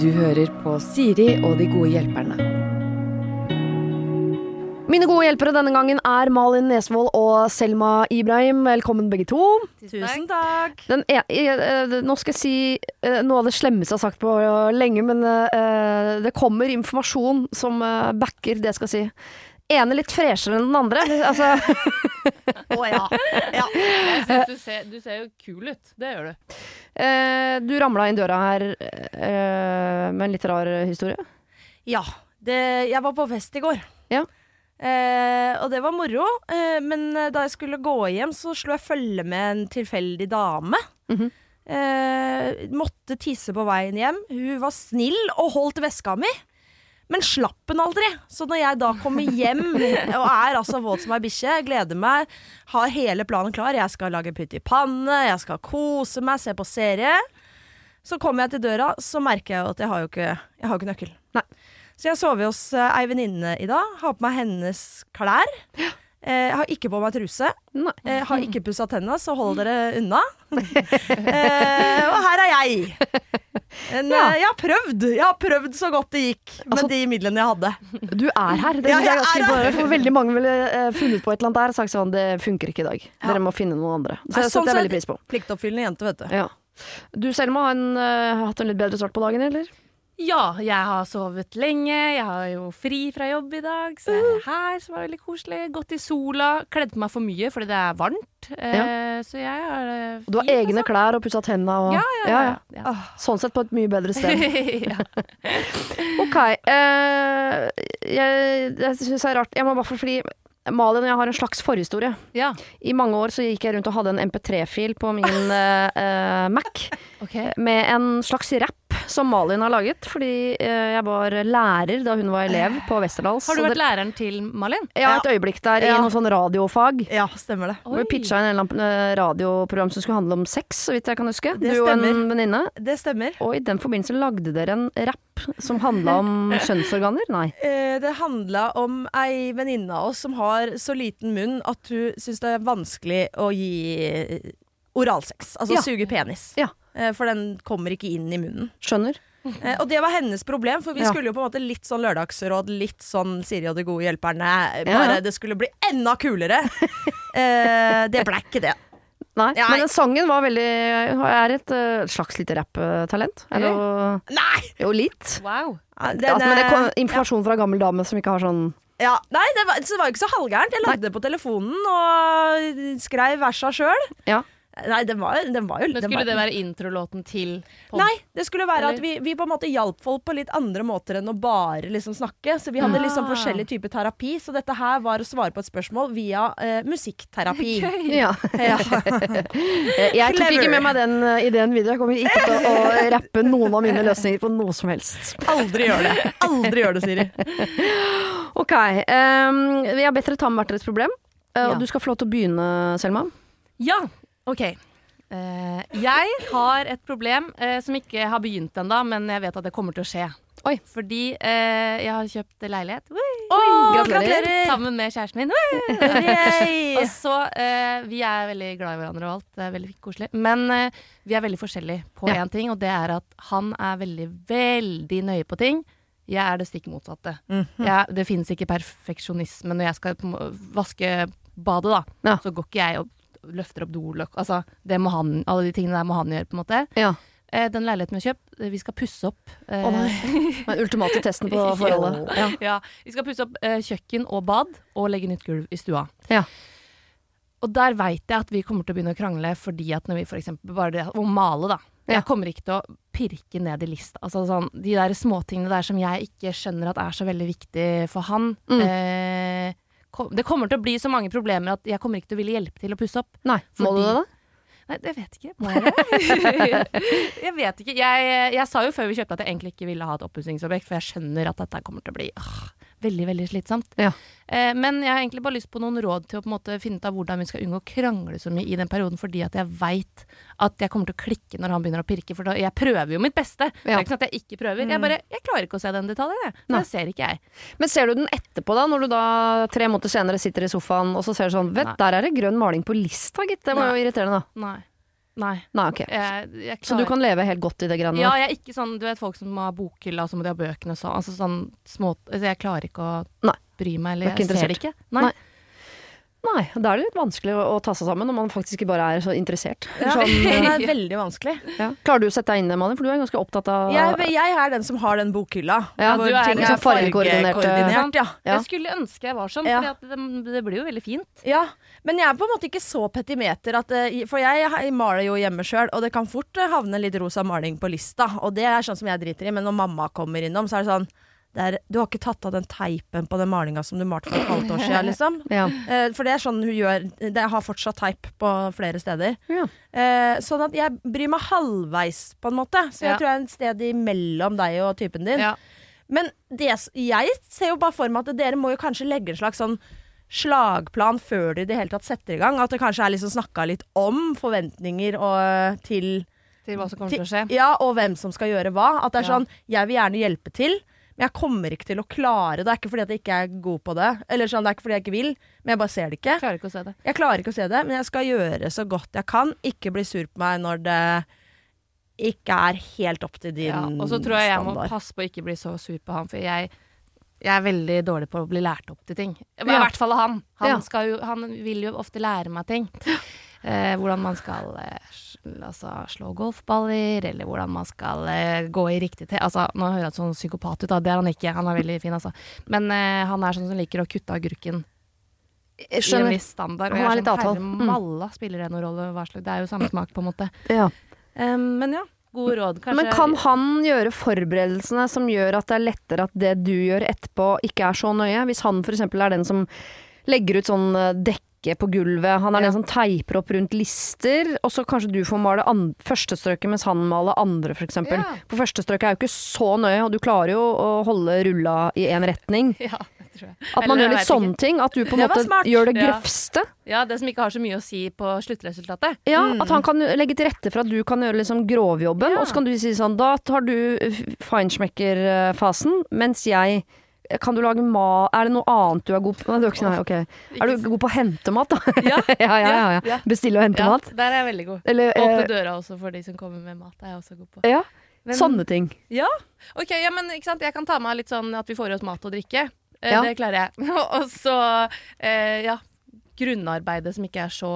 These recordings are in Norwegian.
Du hører på Siri og de gode hjelperne. Mine gode hjelpere denne gangen er Malin Nesvold og Selma Ibrahim. Velkommen begge to. Tusen takk. Den e eh, eh, nå skal jeg si eh, noe av det slemmeste jeg har sagt på eh, lenge, men eh, det kommer informasjon som eh, backer det jeg skal si. Ene litt freshere enn den andre. Altså, Å ja. ja. Jeg synes du, ser, du ser jo kul ut. Det gjør du. eh, du ramla inn døra her eh, med en litt rar historie. Ja. Det, jeg var på fest i går. Ja. Eh, og det var moro. Eh, men da jeg skulle gå hjem, så slo jeg følge med en tilfeldig dame. Mhm. eh, måtte tisse på veien hjem. Hun var snill og holdt veska mi. Men slapp den aldri. Så når jeg da kommer hjem og er altså våt som ei bikkje, gleder meg, har hele planen klar, jeg skal lage pytt i panne, jeg skal kose meg, se på serie. Så kommer jeg til døra, så merker jeg at jeg har jo ikke, jeg har jo ikke nøkkel. Nei. Så jeg sover hos eh, ei venninne i dag. Har på meg hennes klær. Eh, jeg har ikke på meg truse. Nei. Eh, har ikke pussa tenna, så hold dere unna. eh, og her er jeg. En, Ja. eh, jeg har prøvd. Jeg har prøvd så godt det gikk med Altså- de midlene jeg hadde. Du er her. Det Ja, synes jeg jeg er ganske er her. imponerende. For veldig mange ville eh, funnet på et eller annet der og sagt sånn det funker ikke i dag. Dere må finne noen andre. Så Nei, det setter jeg sånn veldig pris på. Pliktoppfyllende jente, vet du. Ja. Du Selma, har en, eh, hatt en litt bedre start på dagen, eller? Ja, jeg har sovet lenge. Jeg har jo fri fra jobb i dag, så jeg er her, som er veldig koselig. Gått i sola. Kledd meg for mye fordi det er varmt. Eh, så jeg har eh, det fint. Du har egne klær og pussa tenna og sånn. altså. Ja, ja, ja. ja. Åh. Sånn sett på et mye bedre sted. ja. OK. eh, jeg jeg syns det er rart. Jeg må bare få fordi Malin og jeg har en slags forhistorie. ja. I mange år så gikk jeg rundt og hadde en MP3-fil på min eh, eh, Mac OK. med en slags rapp som Malin har laget. Fordi eh, jeg var lærer da hun var elev på Westerdals. Har du og vært læreren til Malin? det- Ja, et øyeblikk der i Ja. noe sånn radiofag. Ja, stemmer det. Hvor vi pitcha inn et eh, radioprogram som skulle handle om sex, så vidt jeg kan huske. Det du og en stemmer. venninne. Det stemmer. Og i den forbindelse lagde dere en rapp som handla om kjønnsorganer? Nei. Eh, det handla om ei venninne av oss som har så liten munn at hun syns det er vanskelig å gi eh, oralsex. Altså Ja. suge penis. Ja. Eh, For den kommer ikke inn i munnen. Skjønner. Eh, Og det var hennes problem, for vi Ja. skulle jo på en måte litt sånn lørdagsråd, litt sånn Siri og de gode hjelperne. Eh, Ja, Bare ja. det skulle bli enda kulere. eh, det ble ikke det. Nei. Nei. Men den sangen var veldig Hun er et eh, slags lite rapptalent. Er det jo- Nei! Jo, litt. Wow. Den, altså, men det kom eh, informasjon fra gammel dame som ikke har sånn ja. Nei, det var, så det var jo ikke så halvgærent. Jeg lagde det på telefonen og skrev versa sjøl. Ja. Nei, den var, den var jo Men den skulle var, det være introlåten til pod? Nei, det skulle være at Eller? vi, vi på en måte hjalp folk på litt andre måter enn å bare liksom snakke. Så vi hadde liksom Ah. forskjellig type terapi. Så dette her var å svare på et spørsmål via eh, musikkterapi. Ja. Ja. Jeg tok ikke Clever. med meg den eh, ideen videre. Jeg kommer ikke til å rappe noen av mine løsninger på noe som helst. Aldri gjør det. Aldri gjør det, Siri. Ok. Um, vi har bedt dere ta med hvert deres problem. Eh, Ja. Og du skal få lov til å begynne, Selma. Ja, ok. Eh, jeg har et problem eh, som ikke har begynt ennå, men jeg vet at det kommer til å skje. Oi. Fordi eh, jeg har kjøpt leilighet Woo! gratulerer. sammen med kjæresten min. Woo! Og Yay! så, eh, Vi er veldig glad i hverandre og alt, det er veldig koselig. Men eh, vi er veldig forskjellige på én Ja. ting, og det er at han er veldig, veldig nøye på ting. Jeg er det stikk motsatte. Mhm. jeg, det finnes ikke perfeksjonisme når jeg skal på en må- vaske badet, da. Ja. Så går ikke jeg og løfter opp dolokk. Altså, det må han, alle de tingene der må han gjøre, på en måte. Ja. Eh, den leiligheten vi har kjøpt, eh, vi skal pusse opp. eh, Å nei. Den ultimate testen på forholdet. Ja. ja, vi skal pusse opp eh, kjøkken og bad og legge nytt gulv i stua. Ja. Og der veit jeg at vi kommer til å begynne å krangle fordi at når vi f.eks. bare det å male, da. Ja. Jeg kommer ikke til å pirke ned i lista. Altså sånn, de der småtingene der som jeg ikke skjønner at er så veldig viktig for han. Mm. Eh, kom, det kommer til å bli så mange problemer at jeg kommer ikke til å ville hjelpe til å pusse opp. Nei, må du Fordi- det da? Nei, det vet jeg ikke. Må jeg det? jeg vet ikke. Jeg, jeg sa jo før vi kjøpte at jeg egentlig ikke ville ha et oppussingsobjekt, for jeg skjønner at dette kommer til å bli ah, veldig, veldig slitsomt. Ja. Eh, men jeg har egentlig bare lyst på noen råd til å på en måte finne ut av hvordan vi skal unngå å krangle så mye i den perioden, fordi at jeg veit at jeg kommer til å klikke når han begynner å pirke, for da, jeg prøver jo mitt beste. Det Ja. Mm. er ikke sånn at jeg ikke prøver. Jeg bare, jeg klarer ikke å se den detaljen, jeg. Nei. Det ser ikke jeg. Men ser du den etterpå, da? Når du da tre måneder senere sitter i sofaen og så ser du sånn Vet, Nei. der er det grønn maling på lista, gitt. Det var jo irriterende, da. Nei. Nei. Nei, ok. Jeg, jeg Så du klarer- kan leve helt godt i det greiene Ja, jeg er ikke sånn Du vet folk som har bokhylla, og så må de ha bøkene og sånn. Altså sånn små altså, Jeg klarer ikke å Nei. bry meg, Du er eller ikke jeg ser det ikke. Nei. Nei. Nei, da er det litt vanskelig å å ta seg sammen når man faktisk ikke bare er så interessert. Ja, Sånn, det eh, er veldig vanskelig. ja. Klarer du å sette deg inn i Malin, for du er ganske opptatt av Jeg, jeg er den som har den bokhylla. Ja, hvor du er ting liksom eh, fargekoordinert, fargekoordinert, ja. Ja. Jeg skulle ønske jeg var sånn, Ja. for det, det blir jo veldig fint. ja. Men jeg er på en måte ikke så petimeter, at, eh, for jeg, jeg maler jo hjemme sjøl. Og det kan fort eh, havne litt rosa maling på lista, og det er sånn som jeg driter i. Men når mamma kommer innom, så er det sånn det er, Du har ikke tatt av den teipen på den malinga som du malte for et halvt år siden, liksom. Ja. Eh, For det er sånn hun gjør. Jeg har fortsatt teip på flere steder. Ja. Eh, Sånn at jeg bryr meg halvveis, på en måte. Så jeg Ja. tror jeg er et sted imellom deg og typen din. Ja. Men det, s- jeg ser jo bare for meg at dere må jo kanskje legge en slags sånn slagplan før dere i det hele tatt setter i gang. At det kanskje er liksom snakka litt om forventninger og eh, til Til hva som kommer til å skje. Ja, og hvem som skal gjøre hva. At det er Ja. sånn Jeg vil gjerne hjelpe til, men jeg kommer ikke til å klare det. Det er ikke fordi at jeg ikke er god på det, eller sånn, det er ikke fordi jeg ikke vil, men jeg bare ser det ikke. Klarer ikke å se det. Jeg klarer ikke å se det, men jeg skal gjøre så godt jeg kan. Ikke bli sur på meg når det ikke er helt opp til din Ja, og så tror jeg jeg må passe på å ikke bli så sur på han, for jeg, jeg er veldig dårlig på å bli lært opp til ting. I Ja. hvert fall av han. Han, Ja. skal jo, han vil jo ofte lære meg ting. Eh, hvordan man skal eh, sl- altså, slå golfballer, eller hvordan man skal eh, gå i riktig te... Altså, nå hører jeg sånn psykopat ut, da. Det er han ikke. Han er veldig fin, altså. Men eh, han er sånn som liker å kutte agurken Jeg i en skjønner. viss standard. Og Han jeg er litt sånn, avtalt. Herre Mm. malla, spiller det noen rolle? Hva slags Det er jo samme smak, på en måte. Ja. Eh, men ja. Gode råd, kanskje. Men kan han gjøre forberedelsene som gjør at det er lettere at det du gjør etterpå ikke er så nøye? Hvis han f.eks. er den som legger ut sånn eh, dekke på gulvet, han er Ja. den som teiper opp rundt lister, og så kanskje du får male an første strøket mens han maler andre, f.eks. eksempel. Ja. For første strøket er jo ikke så nøye, og du klarer jo å holde rulla i én retning. Ja, det tror jeg. At man gjør Eller, jeg litt vet ikke. sånne ting. At du på en Det var måte smart. gjør det Ja. grøfste. Ja, det som ikke har så mye å si på sluttresultatet. Ja, At han kan legge til rette for at du kan gjøre liksom grovjobben, Mm. Ja. og så kan du si sånn Da tar du f- feinschmecker-fasen, mens jeg Kan du lage ma... Er det noe annet du er god på? Nei, det er ikke- sånn, Nei, ok. Er du god på å hente mat, da? Ja. ja, ja, ja, ja. Ja. Bestille og hente Ja, mat? der er jeg veldig god. Eller Åpne eh, døra også for de som kommer med mat. Det er jeg også god på. Ja. Men- Sånne ting. Ja, ok, ja, men ikke sant? Jeg kan ta meg litt sånn at vi får i oss mat og drikke. Eh, Ja. Det klarer jeg. og så, eh, ja, grunnarbeidet som ikke er så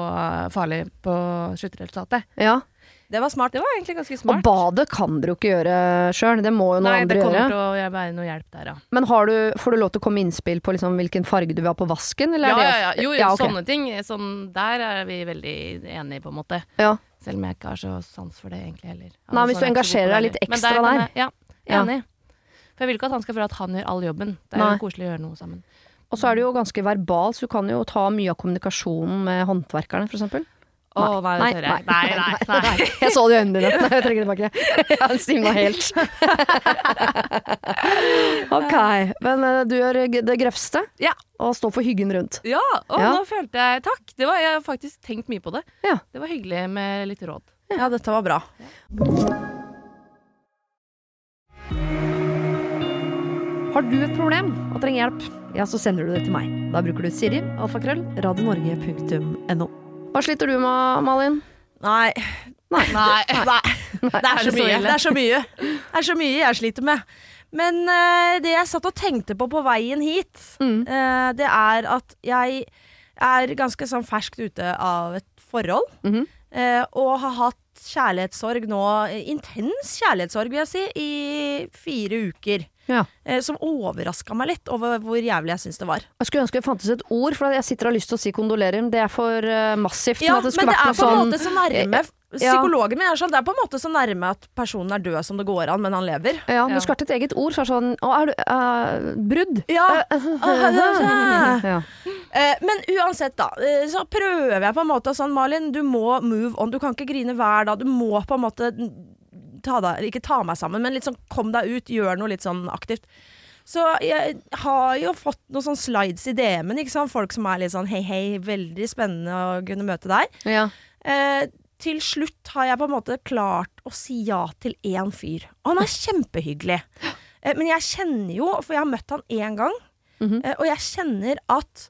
farlig på sluttresultatet. Ja. Det var smart. Det var egentlig ganske Og smart. badet kan dere jo ikke gjøre sjøl, det må jo noen Nei, det andre kommer gjøre. til å være noe hjelp der, ja. Men har du, får du lov til å komme med innspill på liksom hvilken farge du vil ha på vasken? Eller Ja, er det ja, ja. Jo, jo, ja, ok. sånne ting. Sånn, der er vi veldig enige, på en måte. Ja. Selv om jeg ikke har så sans for det egentlig heller. Nei, hvis du Altså, jeg er ikke så god engasjerer på deg det litt heller. Men ekstra kan der. jeg- Ja, Ja. enig. For jeg vil ikke at han skal føle at han gjør all jobben. Det er Nei. jo koselig å gjøre noe sammen. Og så er det jo ganske verbal, så du kan jo ta mye av kommunikasjonen med håndverkerne, f.eks. Å, nei, nei, det tør nei, jeg. Nei, nei, nei. Jeg så det i øynene dine. Nei, jeg trekker det tilbake. Jeg har stivna helt. ok. Men eh, du gjør g- det grøvste, Ja. og står for hyggen rundt. Ja, å, Ja. nå følte jeg Takk. Det var, jeg har faktisk tenkt mye på det. Ja. Det var hyggelig med litt råd. Ja, dette var bra. Har du et problem og trenger hjelp, ja, så sender du det til meg. Da bruker du Siri, alfakrøll, radionorge.no. Hva sliter du med, Malin? Nei. Nei. Nei. Det er så Er det så mye. ille? Det er så mye. Det er så mye jeg sliter med. Men eh, det jeg satt og tenkte på på veien hit, Mm. eh, det er at jeg er ganske sånn ferskt ute av et forhold. Mhm. eh, og har hatt kjærlighetssorg nå, eh, intens kjærlighetssorg vil jeg si, i fire uker. Ja. Eh, som overraska meg litt over hvor jævlig jeg syns det var. Jeg skulle ønske det fantes et ord, for jeg sitter og har lyst til å si kondolerer. men Det er for eh, massivt. Ja, til at det men skulle det er vært på noe en sånn eh, måte så nærme Ja. Psykologen min er sånn, det er på en måte så nærme at personen er død som det går an, men han lever. Ja, men Ja. du skulle hatt et eget ord. Så er det sånn Å, er du eh, Brudd? Ja. Ah, Eh, ja. Eh, men uansett, da. eh, Så prøver jeg på en måte sånn, Malin, du må move on. Du kan ikke grine hver dag. Du må på en måte ta deg, ikke ta meg sammen, men litt sånn kom deg ut. Gjør noe litt sånn aktivt. Så jeg har jo fått noen sånn slides i DM-en. ikke sant? Folk som er litt sånn hei, hei, veldig spennende å kunne møte deg. ja. Eh, til slutt har jeg på en måte klart å si ja til én fyr. Og han er kjempehyggelig. Eh, men jeg kjenner jo, for jeg har møtt han én gang, Mhm. eh, og jeg kjenner at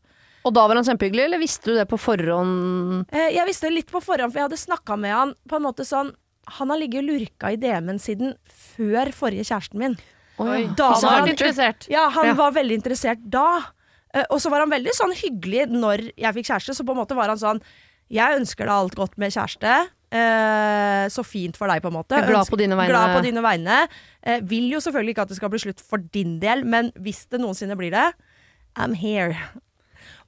Å, Og da var han kjempehyggelig, eller visste du det på forhånd? Eh, Jeg visste det litt på forhånd, for jeg hadde snakka med han på en måte sånn Han har ligget og lurka i DM-en siden før forrige kjæresten min. Oi. Da var Han har han, vært interessert. ja, han Ja. var veldig interessert da. Eh, Og så var han veldig sånn hyggelig når jeg fikk kjæreste, så på en måte var han sånn Jeg ønsker deg alt godt med kjæreste. Eh, så fint for deg, på en måte. Jeg er glad Ønsker- på dine vegne. Glad på dine vegne. Eh, vil jo selvfølgelig ikke at det skal bli slutt for din del, men hvis det noensinne blir det, I'm here.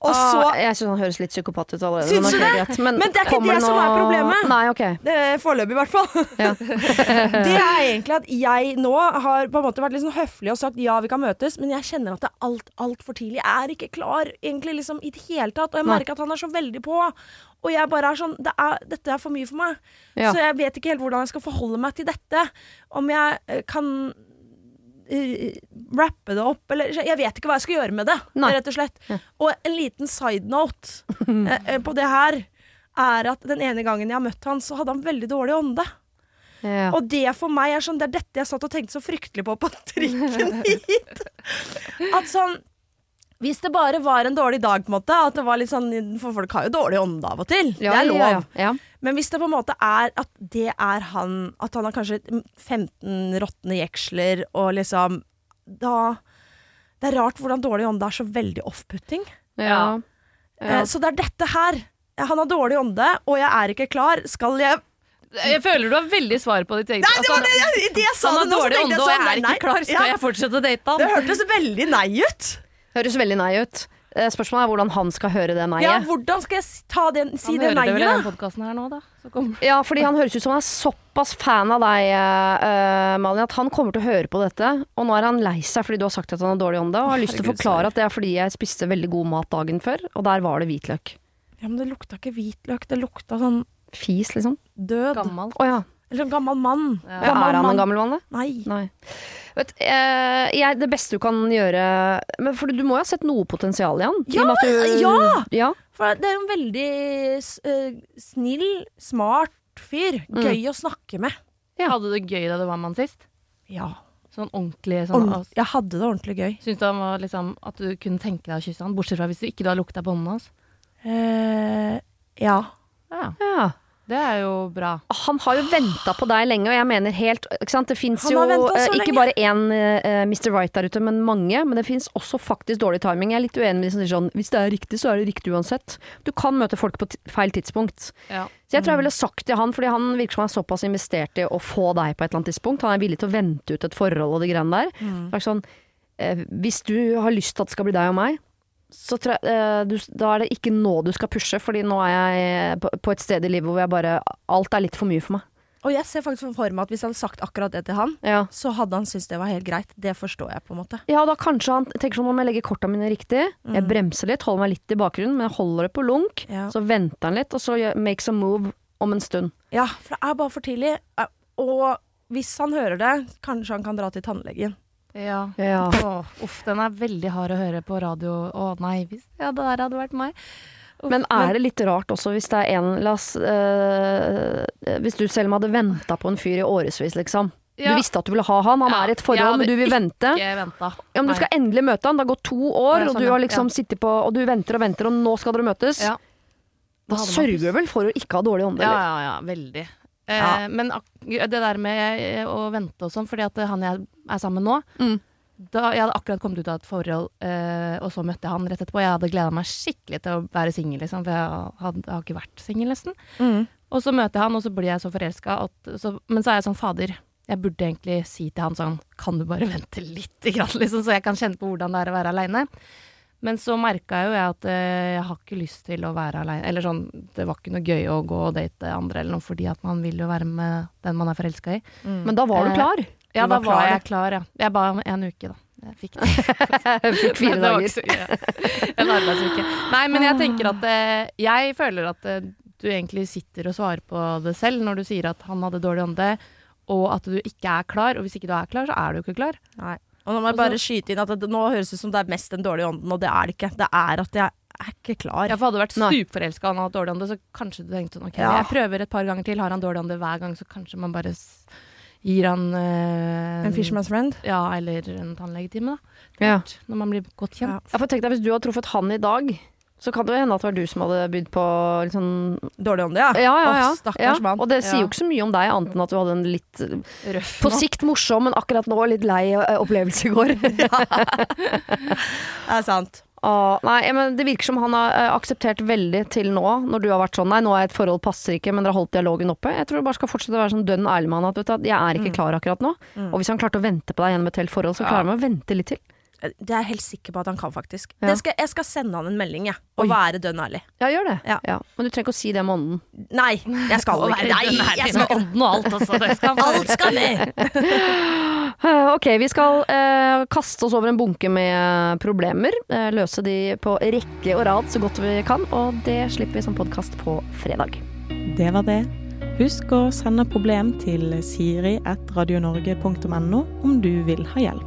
Og så Ah, jeg syns han høres litt psykopat ut allerede. Syns men ok, du det? greit. Men det er ikke kommer det som er problemet. Nei, ok. Eh, Foreløpig, i hvert fall. Ja. det er egentlig at jeg nå har på en måte vært litt sånn høflig og sagt ja, vi kan møtes, men jeg kjenner at det er alt altfor tidlig. Jeg er ikke klar egentlig liksom i det hele tatt, og jeg Nei. merker at han er så veldig på. Og jeg bare er sånn det er, Dette er for mye for meg. Ja. Så jeg vet ikke helt hvordan jeg skal forholde meg til dette. Om jeg eh, kan eh, rappe det opp, eller Jeg vet ikke hva jeg skal gjøre med det, Nei. rett og slett. Og en liten side note eh, eh, på det her er at den ene gangen jeg møtte han, så hadde han veldig dårlig ånde. Ja. Og det for meg er sånn, det er dette jeg satt og tenkte så fryktelig på på trikken hit. At sånn, hvis det bare var en dårlig dag på en måte, at det var litt sånn, for folk har jo dårlig ånde av og til, det Ja, er lov. ja, ja. Men hvis det på en måte er at det er han, at han har kanskje 15 råtne jeksler og liksom, da... Det er rart hvordan dårlig ånde er så veldig off-putting. Ja. Ja. Eh, Så det er dette her. Han har dårlig ånde, og jeg er ikke klar. Skal jeg Jeg føler du har veldig svar på ditt eget Nei, det var det jeg, det jeg sa Altså, det Han har nå, så dårlig tenkte jeg ånde, og sånn, jeg er nei, ikke klar. ja, Skal jeg fortsette å date Det han? hørtes veldig nei ut. Høres veldig nei ut. Eh, Spørsmålet er hvordan han skal høre det Ja, nei-et. hvordan skal jeg s- ta den, si Han det hører det vel i nei-et, den da? podkasten her nå, da. Så kommer Ja, fordi han høres ut som han er såpass fan av deg, eh, eh, Malin, at han kommer til å høre på dette. Og nå er han lei seg fordi du har sagt at han har dårlig ånde, og har lyst til å Herregud, forklare at det er fordi jeg spiste veldig god mat dagen før, og der var det hvitløk. Ja, men det lukta ikke hvitløk, det lukta sånn Fis, liksom. død. gammel. Å ja. Eller sånn gammel mann. Ja. ja. Er han en gammel mann, da? Nei. Nei. Vet, eh, jeg, det beste du kan gjøre men For du må jo ha sett noe potensial i han? i og med at du, ja! ja! For det er jo en veldig s- eh, snill, smart fyr. Gøy å snakke med. Ja. Hadde du det gøy da du var med han sist? Ja. Sånn ordentlig sånn Ordent- jeg hadde det ordentlig gøy. Syns du han var liksom at du kunne tenke deg å kysse han, bortsett fra hvis du ikke da lukta på hånden hans? Eh, ja. Ja, ja. det er jo bra. Han har jo venta på deg lenge, og jeg mener helt ikke sant? Det fins Han jo har ventet så eh, lenge. ikke bare én eh, Mr. Right der ute, men mange. Men det fins også faktisk dårlig timing. Jeg er litt uenig med de som sier sånn hvis det er riktig, så er det riktig uansett. Du kan møte folk på t feil tidspunkt. Ja. Så jeg tror jeg ville sagt til han, fordi han virker som han er såpass investert i å få deg på et eller annet tidspunkt. Han er villig til å vente ut et forhold og de greiene der. Sagt Sånn, eh, hvis du har lyst til at det skal bli deg og meg, så tror jeg, eh, du, da er det ikke nå du skal pushe, fordi nå er jeg eh, på, på et sted i livet hvor jeg bare Alt er litt for mye for meg. Og jeg ser faktisk for meg at hvis jeg hadde sagt akkurat det til han, Ja. så hadde han syntes det var helt greit. Det forstår jeg, på en måte. Ja, da kanskje han tenker sånn om jeg legger korta mine riktig. Jeg bremser litt, holder meg litt i bakgrunnen, men jeg holder det på lunk. Ja. Så venter han litt, og så gjør- makes a move om en stund. Ja, for det er bare for tidlig. Eh, Og hvis han hører det, kanskje han kan dra til tannlegen. Ja. Ja. Åh, uff, den er veldig hard å høre på radio. Å nei, hvis ja, det der hadde vært meg. Men er det litt rart også hvis det er en La oss øh, Hvis du selv hadde venta på en fyr i årevis, liksom. Ja. Du visste at du ville ha han, han Ja, er i et jeg forhold, hadde men du vil vente. Ikke venta. Ja, men du Nei. skal endelig møte han, det har gått to år, Ja, og sånn, du ja. har liksom sittet på Og du venter og venter, og nå skal dere møtes. Ja. Da hadde man sørger du vel for å ikke ha dårlig ånde, Ja, eller? ja, ja, veldig. Eh, Ja. Men ak det der med eh, å vente og sånn, fordi at han jeg er sammen med nå Mm. da, Jeg hadde akkurat kommet ut av et forhold, eh, og så møtte jeg han rett etterpå. Jeg hadde gleda meg skikkelig til å være singel, liksom, for jeg, hadde, jeg har ikke vært singel nesten. Og så møter jeg han, og så blir jeg så forelska. Så, men så er jeg sånn, fader, jeg burde egentlig si til han sånn, kan du bare vente litt, grann, liksom, så jeg kan kjenne på hvordan det er å være aleine. Men så merka jo jeg at eh, jeg har ikke lyst til å være aleine. Eller sånn, det var ikke noe gøy å gå og date andre eller noe, fordi at man vil jo være med den man er forelska i. Men da var du Eh, klar. Ja, var da var klar, jeg klar, ja. Jeg ba om en uke, da. Jeg fikk det. Fikk fire Det var dager. ikke så- ja. En arbeidsuke. Nei, men jeg tenker at eh, Jeg føler at eh, du egentlig sitter og svarer på det selv når du sier at han hadde dårlig ånde, og at du ikke er klar. Og hvis ikke du er klar, så er du ikke klar. Nei. Og nå må jeg bare skyte inn at det, nå høres det ut som det er mest den dårlige ånden, og det er det ikke. Det er at jeg er ikke klar. Ja, for hadde du vært Nei. stupforelska og han hadde dårlig ånde, så kanskje du tenkte sånn OK, Ja. jeg prøver et par ganger til. Har han dårlig ånde hver gang, så kanskje man bare s- gir han eh, En fisherman's friend. Ja, eller en tannlegetime, da. Ja. Når man blir godt kjent. Ja, for tenk deg, Hvis du hadde truffet han i dag, Så kan det jo hende at det var du som hadde bydd på litt sånn Dårlig ånde, Ah, ja. Ja, ja, ja. Å, stakkars ja. mann. Og det sier Ja. jo ikke så mye om deg, annet enn at du hadde en litt Røff på nå. sikt morsom, men akkurat nå litt lei eh, opplevelse i går. Det er sant. Ah, nei, men Det virker som han har eh, akseptert veldig til nå, når du har vært sånn Nei, nå er et forhold passer ikke, men dere har holdt dialogen oppe. Jeg tror du bare skal fortsette å være sånn dønn ærlig med han at vet du, hva, jeg er ikke klar akkurat nå. Og hvis han klarte å vente på deg gjennom et helt forhold, så klarer han å vente litt til. Det er jeg helt sikker på at han kan, faktisk. Ja. Det skal, jeg skal sende han en melding, jeg. Og Oi. være dønn ærlig. Ja, gjør det. Ja. Men du trenger ikke å si det om ånden. Nei, jeg skal ikke. Nei, jeg skal ikke. ånden og alt, altså. Det skal man- Alt skal med! Eh, ok, vi skal eh, kaste oss over en bunke med problemer. eh, løse de på rekke og rad så godt vi kan, og det slipper vi som podkast på fredag. Det var det. Husk å sende problem til siri.radionorge.no om du vil ha hjelp.